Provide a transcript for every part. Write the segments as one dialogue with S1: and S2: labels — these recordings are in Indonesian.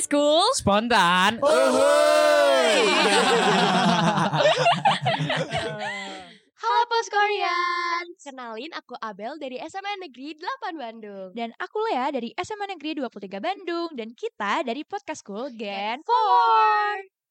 S1: school.
S2: Spontan.
S3: Halo Pos Korean.
S1: Kenalin aku Abel dari SMA Negeri 8 Bandung.
S3: Dan aku Lea dari SMA Negeri 23 Bandung dan kita dari Podcast School Gen 4.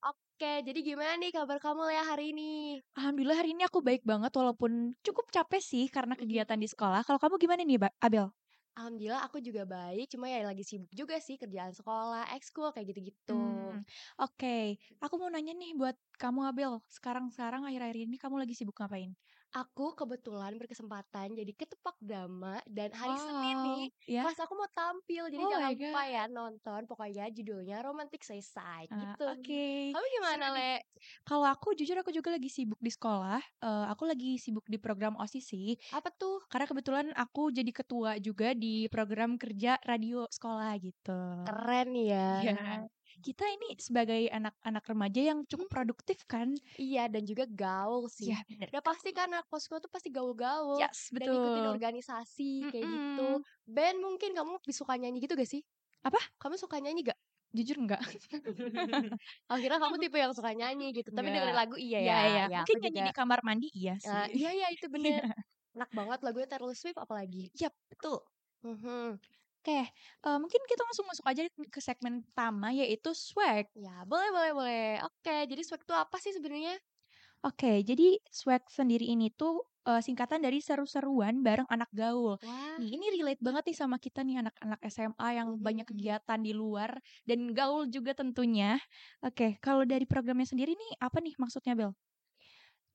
S1: Oke, jadi gimana nih kabar kamu ya hari ini?
S3: Alhamdulillah hari ini aku baik banget walaupun cukup capek sih karena kegiatan di sekolah. Kalau kamu gimana nih Ba- Abel?
S1: Alhamdulillah aku juga baik, cuma ya lagi sibuk juga sih kerjaan sekolah, ekskul kayak gitu-gitu.
S3: Hmm, Oke, aku mau nanya nih buat kamu Abel. Sekarang-sekarang akhir-akhir ini kamu lagi sibuk ngapain?
S1: Aku kebetulan berkesempatan jadi ketupak drama dan hari Senin
S3: Wow,
S1: nih
S3: ya.
S1: pas aku mau tampil. Jadi
S3: Oh
S1: jangan
S3: my God.
S1: lupa ya nonton pokoknya judulnya Romantic Suicide
S3: Ah,
S1: gitu.
S3: Oke.
S1: Kamu gimana, Le?
S3: Kalau aku jujur aku juga lagi sibuk di sekolah. Eh, aku lagi sibuk di program OSIS sih.
S1: Apa tuh?
S3: Karena kebetulan aku jadi ketua juga di program kerja radio sekolah gitu.
S1: Keren ya.
S3: Ya. Kita ini sebagai anak-anak remaja yang cukup produktif kan?
S1: Iya, dan juga gaul sih.
S3: Iya, bener. Iya,
S1: Udah pasti kan anak posko tuh pasti gaul-gaul.
S3: Yes,
S1: Dan ikutin
S3: betul.
S1: organisasi kayak gitu.
S3: Mm-mm.
S1: Band mungkin kamu lebih suka nyanyi gitu gak sih?
S3: Apa?
S1: Kamu suka nyanyi gak?
S3: Jujur enggak?
S1: Akhirnya kamu tipe yang suka nyanyi gitu. Tapi dengerin
S3: Nggak.
S1: lagu iya ya. ya,
S3: Mungkin
S1: aku
S3: nyanyi
S1: juga.
S3: di kamar mandi iya sih.
S1: Nah, iya iya itu bener. Enak banget lagunya Taylor Swift apalagi.
S3: Yap, iya, betul.
S1: Mhm.
S3: Oke, eh, mungkin kita langsung masuk aja ke segmen pertama yaitu swag.
S1: Ya boleh boleh boleh. Oke, jadi swag itu apa sih sebenarnya?
S3: Oke, jadi swag sendiri ini tuh eh, singkatan dari seru-seruan bareng anak gaul.
S1: Wah.
S3: Nih, ini relate banget nih sama kita nih anak-anak SMA yang banyak
S1: Mhm.
S3: kegiatan di luar dan gaul juga tentunya. Oke, kalau dari programnya sendiri nih apa nih maksudnya Bel?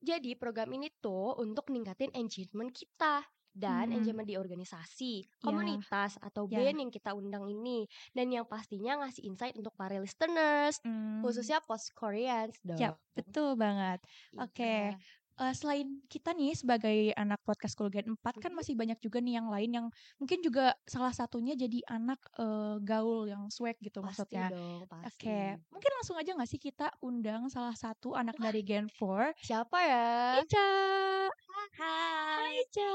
S1: Jadi program ini tuh untuk ningkatin engagement kita dan
S3: Mm-mm.
S1: engagement di organisasi, komunitas atau
S3: Ya.
S1: band yang kita undang ini dan yang pastinya ngasih insight untuk para listeners
S3: Hmm,
S1: khususnya gitu. post Koreans dong.
S3: Yap, Mmm, ya, betul banget. Oke.
S1: Iya.
S3: Eh, selain kita nih sebagai anak podcast Kulgen 4 kan
S1: Mhm.
S3: masih banyak juga nih yang lain yang mungkin juga salah satunya jadi anak eh, gaul yang swag gitu
S1: Pasti
S3: maksudnya.
S1: dong, pasti.
S3: Oke, mungkin langsung aja nggak sih kita undang salah satu anak dari Gen 4
S1: Siapa ya?
S3: Ica.
S4: Hai,
S3: Hai Ica.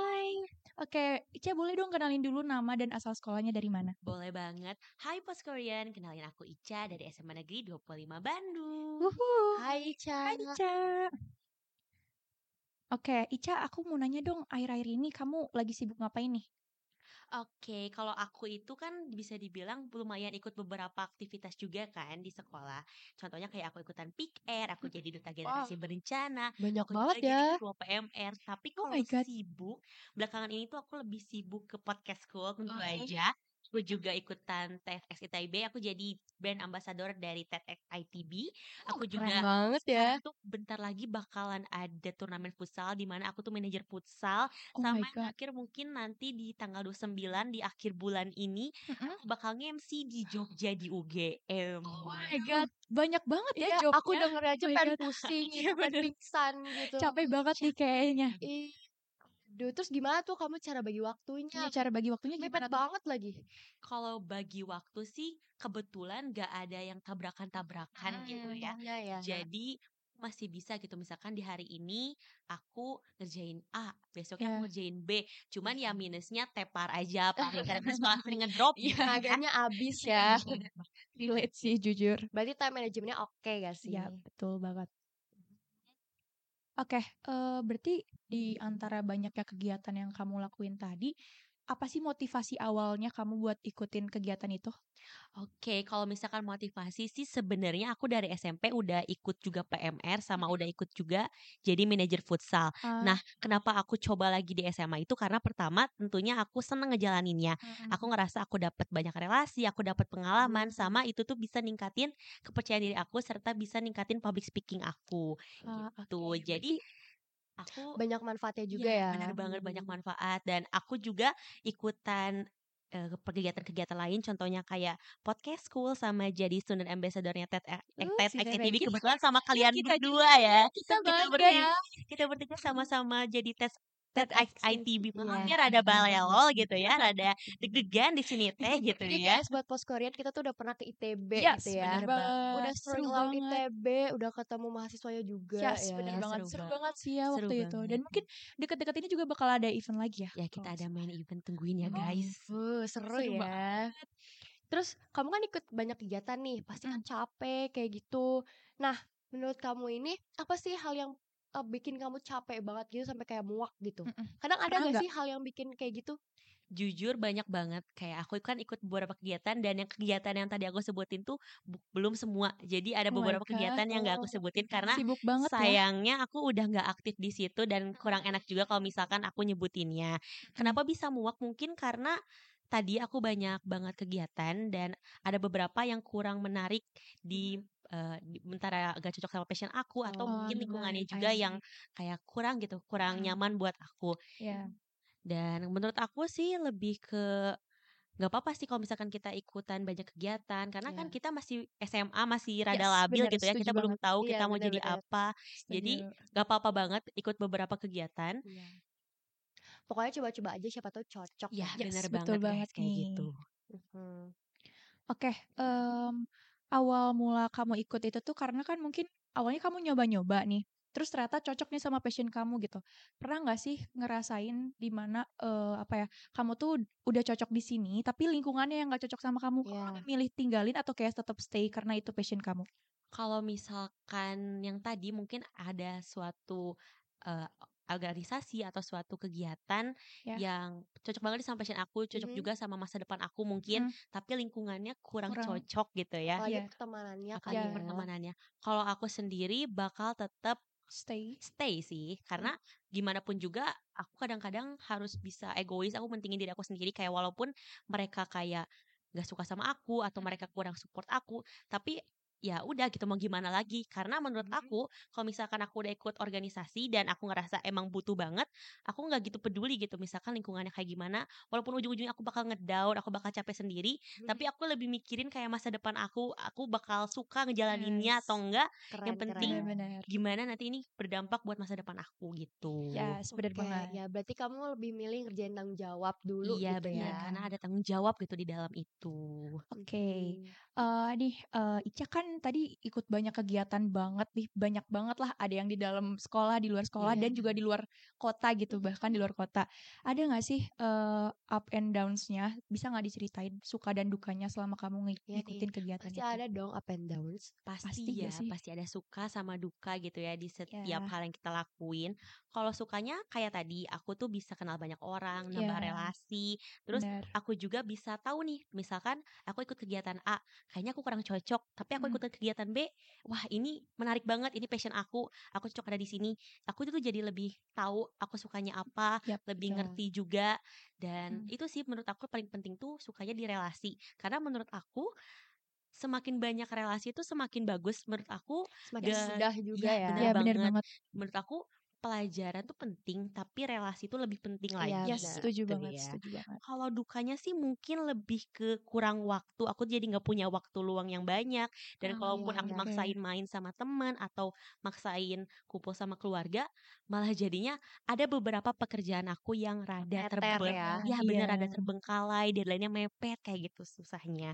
S3: Oke, Ica boleh dong kenalin dulu nama dan asal sekolahnya dari mana?
S4: boleh banget. Hai Post Korean, kenalin aku Ica dari SMA Negeri 25 Bandung.
S3: Wuhu.
S1: Hai Ica.
S3: Hai Ica. Oke, Ica aku mau nanya dong, akhir-akhir ini kamu lagi sibuk ngapain nih?
S4: Oke, kalau aku itu kan bisa dibilang lumayan ikut beberapa aktivitas juga kan di sekolah. Contohnya kayak aku ikutan Pick Air, aku jadi duta generasi berencana,
S1: Banyak
S4: aku
S1: banget
S4: juga
S1: ya.
S4: jadi ketua PMR. Tapi
S3: Oh
S4: kalau
S3: my God.
S4: sibuk, belakangan ini tuh aku lebih sibuk ke podcast school tentu
S1: Oke.
S4: aja. Aku juga ikutan TEDx ITB, aku jadi brand ambassador dari TEDx ITB. Aku
S1: Oh,
S4: juga
S1: Keren banget ya.
S4: Sekarang tuh bentar lagi bakalan ada turnamen futsal di mana aku tuh manajer futsal
S3: Oh
S4: sama
S3: my
S4: yang
S3: god.
S4: terakhir mungkin nanti di tanggal 29 di akhir bulan ini
S3: Mm-mm.
S4: aku bakal nge-MC di Jogja di UGM.
S1: Oh
S3: Iya.
S1: my god.
S3: Banyak banget ya
S1: Iya,
S3: jobnya.
S1: aku denger aja
S3: Oh my
S1: pengen
S3: God.
S1: pusing,
S4: Iya,
S1: gitu, pengen
S4: bener.
S1: pingsan gitu.
S3: Capek banget nih kayaknya.
S1: Ih, Duh, terus gimana tuh kamu cara bagi
S3: Ini
S1: waktunya?
S3: cara bagi waktunya
S1: Iya. Mepet
S3: Iya, gimana? tuh?
S1: banget lagi.
S4: Kalau bagi waktu sih kebetulan gak ada yang tabrakan-tabrakan
S1: Ah,
S4: gitu ya.
S1: Untungnya ya.
S3: Iya,
S4: Jadi masih bisa gitu misalkan di hari ini aku ngerjain A, besoknya aku
S3: Ya.
S4: ngerjain B. Cuman ya minusnya tepar aja paling karena sekolah sering ngedrop
S3: Iya,
S4: gitu ya.
S1: Tenaganya habis ya.
S3: Relate sih jujur.
S1: Berarti time managementnya oke gak sih?
S3: Iya, betul banget. Oke, eh, berarti di antara banyaknya kegiatan yang kamu lakuin tadi, apa sih motivasi awalnya kamu buat ikutin kegiatan itu?
S4: Oke, kalau misalkan motivasi sih sebenarnya aku dari SMP udah ikut juga PMR sama udah ikut juga jadi manajer futsal.
S3: Ah,
S4: Nah, kenapa aku coba lagi di SMA itu karena pertama tentunya aku seneng ngejalaninnya.
S3: mm-mm.
S4: Aku ngerasa aku dapat banyak relasi, aku dapat pengalaman sama itu tuh bisa ningkatin kepercayaan diri aku serta bisa ningkatin public speaking aku.
S3: Ah,
S4: gitu.
S3: oke,
S4: Jadi
S3: berarti-
S4: aku
S1: Banyak manfaatnya juga
S4: Iya,
S1: ya.
S4: Benar banget banyak
S3: Hmm.
S4: manfaat dan aku juga ikutan eh, kegiatan-kegiatan lain contohnya kayak podcast school sama jadi student ambassador-nya TED eh,
S3: Uh,
S4: TED
S3: si Rere
S4: ICTV.
S3: kita.
S4: kebetulan sama kalian
S3: kita Hmm.
S4: berdua ya.
S1: Kita bangga
S4: bertiga-
S1: ya.
S4: Kita bertiga sama-sama jadi TED TED ITB.
S1: Iya.
S4: Maafnya rada balelol gitu ya, rada deg-degan di sini teh gitu
S1: Jadi
S3: Iya,
S4: ya. Iya,
S1: guys buat post Korean kita tuh udah pernah ke ITB
S3: Yes,
S1: gitu ya.
S3: bener
S4: Bener
S3: banget.
S1: Udah
S3: Seru
S1: sering lawan
S3: banget.
S1: ITB, udah ketemu mahasiswanya juga
S3: Yes,
S1: ya.
S3: bener banget. Seru,
S4: Seru Iya, banget.
S3: banget sih ya
S4: Seru
S3: waktu itu. Dan
S4: banget.
S3: mungkin dekat-dekat ini juga bakal ada event lagi ya.
S4: Ya
S3: kalau
S4: kita
S3: nggak
S4: ada
S3: salah.
S4: main event tungguin ya
S3: Oh,
S4: guys.
S1: Wuh, seru,
S3: Seru
S1: ya. gitu. Terus kamu kan ikut banyak kegiatan nih, pasti kan capek kayak gitu. Nah, menurut kamu ini apa sih hal yang eh, bikin kamu capek banget gitu sampai kayak muak gitu?
S3: Mm-mm.
S1: Kadang ada
S3: Pernah
S1: nggak
S3: nggak?
S1: sih hal yang bikin kayak gitu?
S4: jujur banyak banget kayak aku kan ikut beberapa kegiatan dan yang kegiatan yang tadi aku sebutin tuh bu- belum semua jadi ada
S3: Oh my
S4: beberapa
S3: God.
S4: kegiatan yang nggak aku sebutin karena
S3: Sibuk banget ya.
S4: sayangnya aku udah nggak aktif di situ dan kurang enak juga kalau misalkan aku nyebutinnya kenapa bisa muak mungkin karena tadi aku banyak banget kegiatan dan ada beberapa yang kurang menarik di eh, di- bentar agak cocok sama passion aku
S1: Oh,
S4: atau mungkin lingkungannya
S3: menarik. I
S4: juga
S3: see.
S4: yang kayak kurang gitu kurang
S3: Mm.
S4: nyaman buat aku
S3: Ya.
S4: dan menurut aku sih lebih ke nggak apa-apa sih kalau misalkan kita ikutan banyak kegiatan karena kan
S1: Iya.
S4: kita masih SMA masih rada
S3: Yes,
S4: labil
S3: bener,
S4: gitu ya kita
S3: setuju
S4: belum tahu
S1: Iya,
S4: kita mau jadi
S1: benar-benar.
S4: apa jadi
S3: Setuju.
S4: nggak apa-apa banget ikut beberapa kegiatan
S1: Pokoknya coba-coba aja siapa tahu cocok.
S4: ya
S3: Yes,
S4: benar
S3: betul
S4: banget, guys,
S3: banget
S4: kayak
S3: nih.
S4: gitu
S1: Mhm.
S4: Ya,
S3: Oke, em, awal mula kamu ikut itu tuh karena kan mungkin awalnya kamu nyoba-nyoba nih, terus ternyata cocok nih sama passion kamu gitu. Pernah nggak sih ngerasain di mana eh, apa ya, kamu tuh udah cocok di sini, tapi lingkungannya yang nggak cocok sama kamu, kamu
S1: Iya.
S3: lebih milih tinggalin atau kayak tetap stay karena itu passion kamu?
S4: kalau misalkan yang tadi mungkin ada suatu eh, organisasi atau suatu kegiatan
S3: Ya. Mm-hmm.
S4: yang cocok banget sama passion aku, cocok
S1: Mhm.
S4: juga sama masa depan aku mungkin,
S3: Mhm.
S4: tapi lingkungannya kurang,
S3: Kurang.
S4: cocok gitu ya.
S1: Apalagi
S3: Iya.
S1: pertemanannya kan
S4: Apalagi
S1: ya.
S4: pertemanannya. Kalau aku sendiri bakal tetap
S3: Stay.
S4: stay sih karena
S1: Hmm.
S4: gimana pun juga aku kadang-kadang harus bisa egois aku mentingin diri aku sendiri kayak walaupun mereka kayak nggak suka sama aku atau
S1: Hmm.
S4: mereka kurang support aku tapi ya udah gitu mau gimana lagi karena menurut
S1: Mhm.
S4: aku kalau misalkan aku udah ikut organisasi dan aku ngerasa emang butuh banget aku nggak gitu peduli gitu misalkan lingkungannya kayak gimana walaupun ujung-ujungnya aku bakal ngedown aku bakal capek sendiri
S1: Hmm.
S4: tapi aku lebih mikirin kayak masa depan aku aku bakal suka ngejalaninnya atau
S3: Yes.
S4: enggak
S1: Keren,
S4: yang penting
S1: keren.
S3: Benar-benar.
S4: gimana nanti ini berdampak buat masa depan aku gitu.
S3: Yes, benar
S1: Oke,
S3: banget.
S1: ya berarti kamu lebih milih ngerjain tanggung jawab dulu
S4: Iya
S1: gitu
S4: benar
S1: ya.
S4: karena ada tanggung jawab gitu di dalam itu.
S3: Oke.
S1: Mhm.
S3: Eh nih, eh, Ica kan tadi ikut banyak kegiatan banget nih, banyak banget lah. Ada yang di dalam sekolah, di luar sekolah,
S4: Iya.
S3: dan juga di luar kota gitu, bahkan di luar kota. Ada nggak sih eh, up and downs-nya? Bisa nggak diceritain suka dan dukanya selama kamu ngi-
S1: Iya nih,
S3: ngikutin kegiatan
S1: Pasti
S3: itu?
S1: ada dong up and downs.
S4: Pasti
S3: Pasti
S4: ya,
S3: nggak sih?
S4: pasti ada suka sama duka gitu ya di setiap
S3: Ya.
S4: hal yang kita lakuin. Kalau sukanya kayak tadi, aku tuh bisa kenal banyak orang, nambah
S3: Ya.
S4: relasi. Terus
S3: Benar.
S4: aku juga bisa tahu nih, misalkan aku ikut kegiatan A, kayaknya aku kurang cocok, tapi aku
S3: Mm.
S4: ikut kegiatan B, wah ini menarik banget, ini passion aku, aku cocok ada di sini. Aku tuh jadi lebih tahu aku sukanya apa,
S3: Yap,
S4: lebih
S3: betul.
S4: ngerti juga.
S1: Hmm.
S4: Dan
S3: Mm.
S4: itu sih menurut aku paling penting tuh sukanya di relasi. Karena menurut aku semakin banyak relasi itu semakin bagus menurut aku
S1: Semakin
S4: Yes.
S1: mudah juga
S4: Iya,
S1: ya.
S4: benar
S3: Ya, benar
S4: banget.
S3: banget.
S4: menurut aku pelajaran tuh penting tapi relasi itu lebih penting
S1: Iya,
S4: lagi
S3: Yes,
S1: benar.
S3: setuju
S4: gitu
S3: banget,
S4: ya
S3: setuju banget.
S4: kalau dukanya sih mungkin lebih ke kurang waktu aku jadi nggak punya waktu luang yang banyak dan
S3: Oh,
S4: kalaupun
S1: iya,
S4: aku
S1: iya.
S4: maksain main sama teman atau maksain kumpul sama keluarga malah jadinya ada beberapa pekerjaan aku yang rada
S1: Teter
S4: terbe
S1: ya.
S4: ya
S3: Iya.
S4: bener rada terbengkalai deadline-nya mepet kayak gitu susahnya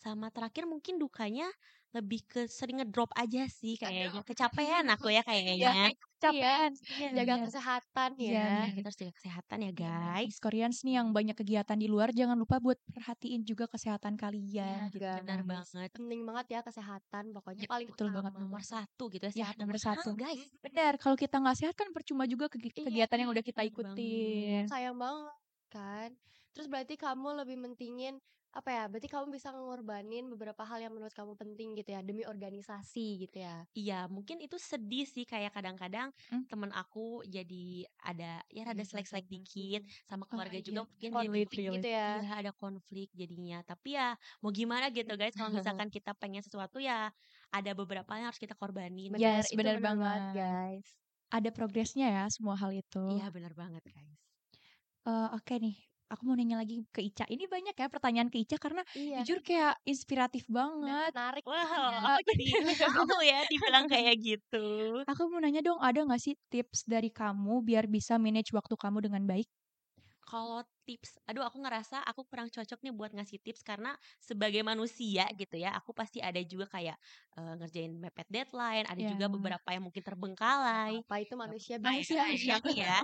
S4: sama terakhir mungkin dukanya lebih ke sering ngedrop aja sih kayaknya kecapean aku ya
S3: Ya,
S4: kayaknya
S3: capean.
S4: iya
S1: Jaga
S4: bener.
S1: kesehatan ya.
S3: Iya,
S4: Iya,
S3: benar.
S4: kita harus jaga kesehatan ya
S3: Iya, benar.
S4: guys
S3: Miss Koreans nih yang banyak kegiatan di luar, jangan lupa buat perhatiin juga kesehatan
S1: Iya,
S3: kalian gitu.
S4: benar
S3: guys.
S4: banget
S1: Penting banget ya kesehatan. Pokoknya
S3: Ya,
S4: Iya,
S1: paling
S3: betul
S1: utama. Hmm,
S3: banget
S4: nomor satu gitu ya
S3: Ya,
S4: sehat
S3: nomor satu. Hmm.
S4: guys
S3: Benar, kalau kita nggak sehat kan percuma juga kegi-
S1: Iya,
S3: kegiatan yang udah kita
S4: benar
S3: ikutin.
S1: Sayang banget kan. Terus berarti kamu lebih mentingin apa ya? Berarti kamu bisa ngorbanin beberapa hal yang menurut kamu penting gitu ya demi organisasi gitu ya.
S4: iya mungkin itu sedih sih kayak kadang-kadang
S3: Mm.
S4: temen aku jadi ada ya
S1: Iya,
S4: rada selek-selek dikit sama
S3: Oh
S4: keluarga
S3: iya,
S4: juga mungkin jadi
S1: Konflik
S3: relate, relate.
S1: gitu ya.
S4: Iya ada konflik jadinya Tapi ya mau gimana gitu guys Kalau misalkan kita pengen sesuatu ya Ada beberapa yang harus kita
S3: Ya.
S4: korbanin
S1: Bener,
S3: Yes,
S1: itu
S3: bener
S1: bener banget
S3: banget.
S1: guys.
S3: Ada progresnya ya semua hal itu.
S4: Iya benar banget guys
S3: Eh, Oke nih, aku mau nanya lagi ke Ica. Ini banyak ya pertanyaan ke Ica karena
S1: Iya.
S3: jujur kayak inspiratif banget.
S1: Menarik.
S4: Wah
S3: Iya.
S4: aku jadi tahu ya dibilang kayak gitu
S3: Aku mau nanya dong, ada nggak sih tips dari kamu biar bisa manage waktu kamu dengan baik?
S4: Kalau tips, aduh aku ngerasa aku kurang cocok nih buat ngasih tips karena sebagai manusia gitu ya, aku pasti ada juga kayak eh, ngerjain mepet deadline, ada
S3: Ya.
S4: juga beberapa yang mungkin terbengkalai.
S1: Apa itu manusia
S4: Nah,
S1: biasa
S4: itu manusiawi ya.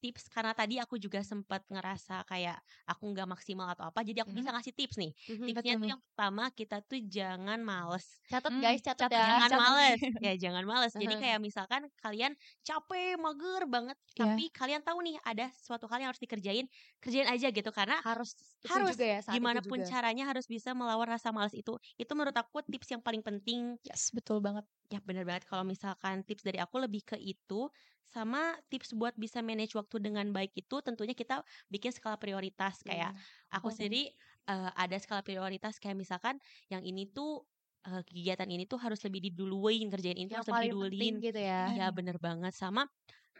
S4: tips karena tadi aku juga sempat ngerasa kayak aku nggak maksimal atau apa jadi aku
S3: Mhm.
S4: bisa ngasih tips nih
S1: Mhm.
S4: tipsnya tuh yang pertama kita tuh jangan males
S1: Catat
S3: Hmm,
S1: guys, catat ya.
S3: catat
S4: jangan
S3: jangan.
S4: males ya jangan males jadi
S1: Aha.
S4: kayak misalkan kalian capek mager banget
S3: Iya.
S4: tapi kalian tahu nih ada suatu hal yang harus dikerjain kerjain aja gitu karena
S1: Harus itu
S4: Harus,
S1: juga ya saat itu
S4: gimana pun
S1: juga.
S4: caranya harus bisa melawan rasa males itu itu menurut aku tips yang paling penting
S3: Yes, betul banget.
S4: ya benar banget kalau misalkan tips dari aku lebih ke itu sama tips buat bisa manage waktu dengan baik itu tentunya kita bikin skala prioritas kayak
S1: Hmm.
S3: Oh.
S4: aku sendiri eh, ada skala prioritas kayak misalkan yang ini tuh eh, kegiatan ini tuh harus lebih diduluin kerjain ini
S1: yang
S4: tuh harus lebih
S1: paling penting
S4: diduluin
S1: gitu ya.
S4: Iya bener banget sama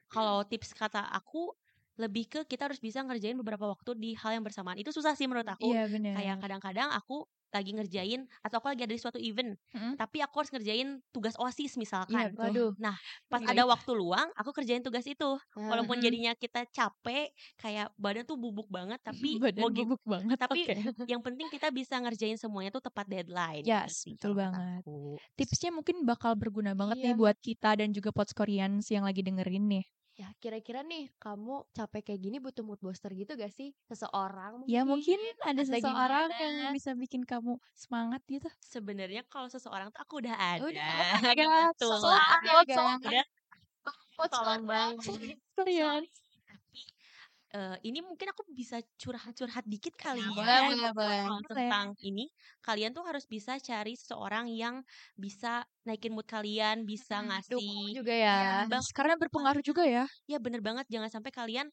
S4: kalau tips kata aku lebih ke kita harus bisa ngerjain beberapa waktu di hal yang bersamaan itu susah sih menurut aku
S3: Iya benar.
S4: oh, kayak kadang-kadang aku lagi ngerjain atau aku lagi ada di suatu event
S3: Mm-mm.
S4: tapi aku harus ngerjain tugas osis
S3: Iya,
S4: misalkan
S3: betul.
S1: Waduh.
S4: pas
S3: Iya,
S4: ada waktu luang aku kerjain tugas itu
S1: Nah,
S4: walaupun
S3: Mm-mm.
S4: jadinya kita capek kayak badan tuh bubuk banget tapi
S3: badan
S4: mau gi-
S3: bubuk banget.
S4: tapi
S3: Oke.
S4: yang penting kita bisa ngerjain semuanya tuh tepat deadline
S3: Yes,
S4: gitu sih
S3: betul
S4: kalau kata
S3: banget.
S4: aku.
S3: Tipsnya mungkin bakal berguna banget
S1: Iya.
S3: nih buat kita dan juga Pots Koreans yang lagi dengerin nih.
S1: ya kira-kira nih kamu capek kayak gini butuh mood booster gitu gak sih? Seseorang
S3: Ya mungkin ada
S1: atau
S3: seseorang
S1: gimana.
S3: yang bisa bikin kamu semangat gitu.
S4: sebenarnya kalau seseorang tuh aku udah ada
S3: Udah,
S4: Ya kan
S3: ya,
S4: Betul
S1: so
S4: lah.
S1: out, so out.
S4: Udah,
S1: Coach
S4: tolong banget.
S3: gitu Korean.
S4: Tapi eh, ini mungkin aku bisa curhat-curhat dikit kali ya.
S1: Boleh, boleh, boleh.
S4: Soal
S3: Boleh.
S4: tentang ini, kalian tuh harus bisa cari seseorang yang bisa naikin mood kalian, bisa
S3: Mm-mm,
S1: Dukung
S4: ngasih.
S1: juga ya.
S4: Bang-
S3: Hmm, Karena berpengaruh juga ya.
S4: Ya bener banget, jangan sampai kalian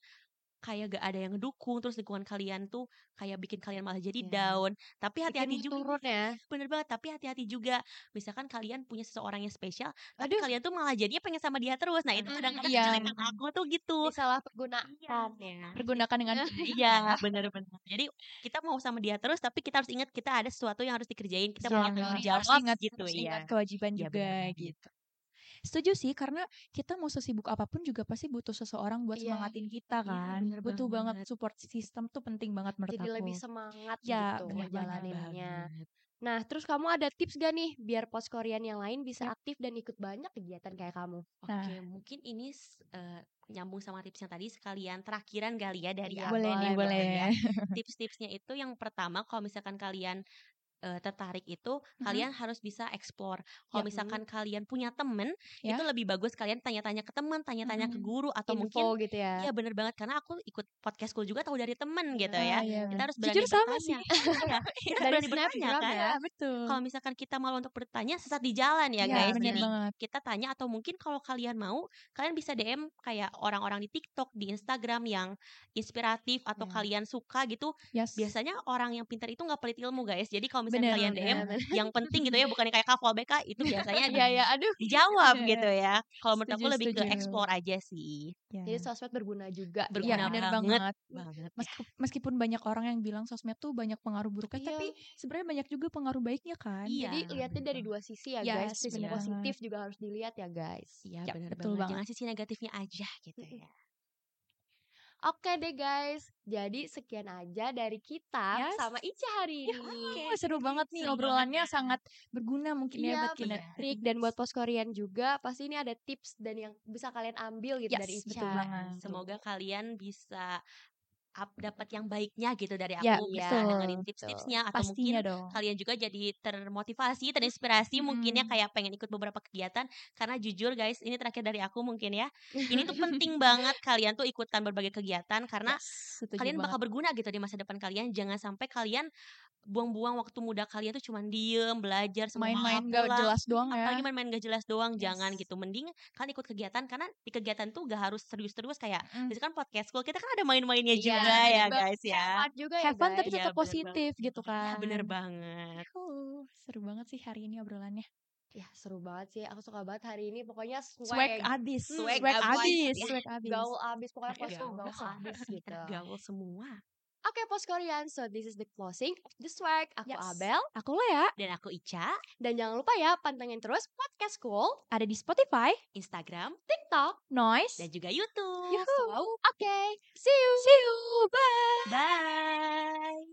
S4: kayak gak ada yang ngedukung, terus lingkungan kalian tuh kayak bikin kalian malah jadi
S1: Iya.
S4: down. Tapi hati-hati
S1: Bikin
S4: juga.
S1: turun ya.
S4: bener banget tapi hati-hati juga misalkan kalian punya seseorang yang spesial tapi
S1: Aduh.
S4: kalian tuh malah jadinya pengen sama dia terus nah itu
S1: Mm,
S4: kadang-kadang
S1: iya. ya.
S4: kejelekan aku tuh gitu
S1: Disalahgunakan
S4: Iya.
S3: Pergunakan dengan
S4: iya bener-bener jadi kita mau sama dia terus tapi kita harus ingat kita ada sesuatu yang harus dikerjain kita punya
S1: Betul.
S4: tanggung
S1: Harus
S4: jawab
S3: harus ingat,
S4: gitu
S3: harus ingat
S4: ya
S3: kewajiban
S4: Iya,
S3: juga
S4: benar banget.
S3: gitu. Setuju sih karena kita mau sesibuk apapun juga pasti butuh seseorang buat
S1: Iya.
S3: semangatin kita
S4: Iya,
S3: kan.
S4: benar
S3: butuh banget.
S4: banget.
S3: support system tuh penting banget menurut
S1: Jadi
S3: aku.
S1: lebih semangat
S3: Ya,
S1: gitu
S3: bener banget.
S1: menjalaninnya. Nah, terus kamu ada tips gak nih biar pos Korean yang lain bisa
S4: Hmm.
S1: aktif dan ikut banyak kegiatan kayak kamu?
S4: oke
S3: Nah.
S4: mungkin ini s- eh, nyambung sama tips yang tadi sekalian terakhiran kali ya dari
S1: Iya,
S4: aku
S3: boleh nih,
S4: kali
S3: boleh.
S4: ya. tips-tipsnya itu yang pertama kalau misalkan kalian eh, tertarik itu
S3: Mm-hmm.
S4: kalian harus bisa explore.
S3: Iya,
S4: Kalau
S1: Ya,
S4: misalkan kalian punya temen
S3: Ya.
S4: itu lebih bagus kalian tanya-tanya ke temen, tanya-tanya ke
S3: Mhm.
S4: guru atau mungkin
S1: Info gitu ya.
S4: Iya bener banget karena aku ikut podcastku juga tahu dari temen gitu
S1: Ah,
S4: ya.
S3: iya.
S4: Kita harus berani
S3: Jujur sama
S4: bertanya.
S3: sih.
S4: Iya, kita
S1: Dari
S4: berani bertanya
S1: snapgram
S4: kan.
S1: ya.
S3: betul.
S4: Kalau misalkan kita malu untuk bertanya sesat di jalan
S3: hmm.
S4: ya,
S3: Iya,
S4: guys.
S3: bener
S4: Jadi
S3: banget.
S4: kita tanya atau mungkin kalau kalian mau kalian bisa DM kayak orang-orang di TikTok, di Instagram yang inspiratif atau
S1: Ya.
S4: kalian suka gitu.
S3: Yes.
S4: Biasanya orang yang pintar itu nggak pelit ilmu guys. Jadi kalau misalnya
S3: Bener,
S4: kalian
S3: bener.
S4: DM yang penting gitu ya bukan yang kayak Kak BK itu biasanya
S1: Iya,
S4: di-
S1: ya, aduh.
S4: dijawab
S3: Iya.
S4: gitu ya. Kalau menurut aku
S3: Setuju,
S4: lebih ke
S3: setuju.
S4: explore aja sih.
S3: Ya.
S1: Jadi iya, sosmed berguna juga. ya.
S3: Iya,
S4: Berguna
S3: bener
S4: Iya, banget.
S3: banget.
S4: Banget.
S3: Meski- Meskipun banyak orang yang bilang sosmed tuh banyak pengaruh buruknya,
S1: Iya.
S3: tapi sebenarnya banyak juga pengaruh baiknya kan.
S4: Iya.
S1: Jadi lihatnya dari dua sisi ya guys.
S3: Yes,
S1: Sisi
S4: bener
S1: positif juga harus dilihat ya guys.
S4: Iya
S3: Ya,
S4: benar
S3: betul
S4: banget.
S3: banget.
S4: Jangan sisi negatifnya aja gitu
S1: Mm-mm.
S4: ya.
S1: Oke deh guys. Jadi sekian aja dari kita
S3: Yes. Ya,
S1: sama Ica hari ini.
S3: "Oh, Wah, seru banget nih
S4: seru banget
S3: obrolannya
S4: ya.
S3: sangat berguna mungkin ya
S1: Iya,
S3: buat kita.
S4: benar.
S1: Trik dan buat pos Korean juga pasti ini ada tips dan yang bisa kalian ambil gitu
S3: Yes,
S1: dari Ica.
S3: betul banget.
S4: Semoga kalian bisa up- dapat yang baiknya gitu dari aku.
S3: Ya,
S4: bisa
S1: betul,
S4: dengerin
S1: betul.
S4: tips-tipsnya atau mungkin
S3: Pastinya dong.
S4: kalian juga jadi termotivasi, terinspirasi
S3: Mm.
S4: mungkinnya kayak pengen ikut beberapa kegiatan karena jujur guys, ini terakhir dari aku mungkin ya. Ini tuh penting banget kalian tuh ikutan berbagai kegiatan karena
S3: Yes, Ya, setuju
S4: kalian bakal
S3: banget.
S4: berguna gitu di masa depan kalian. Jangan sampai kalian buang-buang waktu muda kalian tuh cuman diem, belajar, semua
S3: main-main gak
S4: pulang.
S3: jelas doang ya.
S4: apalagi main-main gak jelas doang
S3: Yes.
S4: jangan gitu mending kalian ikut kegiatan karena di kegiatan tuh gak harus serius-serius kayak
S3: Mm.
S4: misalkan podcast school kita kan ada main-mainnya
S1: Iya,
S4: juga ya
S1: bener
S4: guys ya
S1: Manfaat juga ya
S3: Have fun
S1: guys.
S3: tapi
S4: Iya,
S3: tetap
S4: bener
S3: positif gitu
S4: Iya,
S3: kan.
S4: bener banget
S3: Oh, seru banget sih hari ini obrolannya.
S1: Ya seru banget sih. Aku suka banget hari ini. Pokoknya swag.
S3: Swag abis,
S1: Hmm,
S3: swag,
S4: swag
S3: abis,
S4: abis. ya.
S3: swag abis. Iya.
S1: Gaul abis. Pokoknya
S4: Swag
S1: posku
S4: gaul.
S1: gaul abis gitu.
S4: Kita
S1: Oke
S4: gaul semua
S1: pos Korean. So this is the closing of the swag. Aku
S3: Yes.
S1: Abel.
S3: Aku Lea,
S4: dan aku Ica
S1: Dan jangan lupa ya pantengin terus podcast school.
S3: ada di Spotify,
S4: Instagram
S1: TikTok.
S4: dan
S3: Noise.
S4: juga
S1: Iya.
S4: YouTube
S1: Yuhuu. Oke.
S3: See you, bye.
S4: bye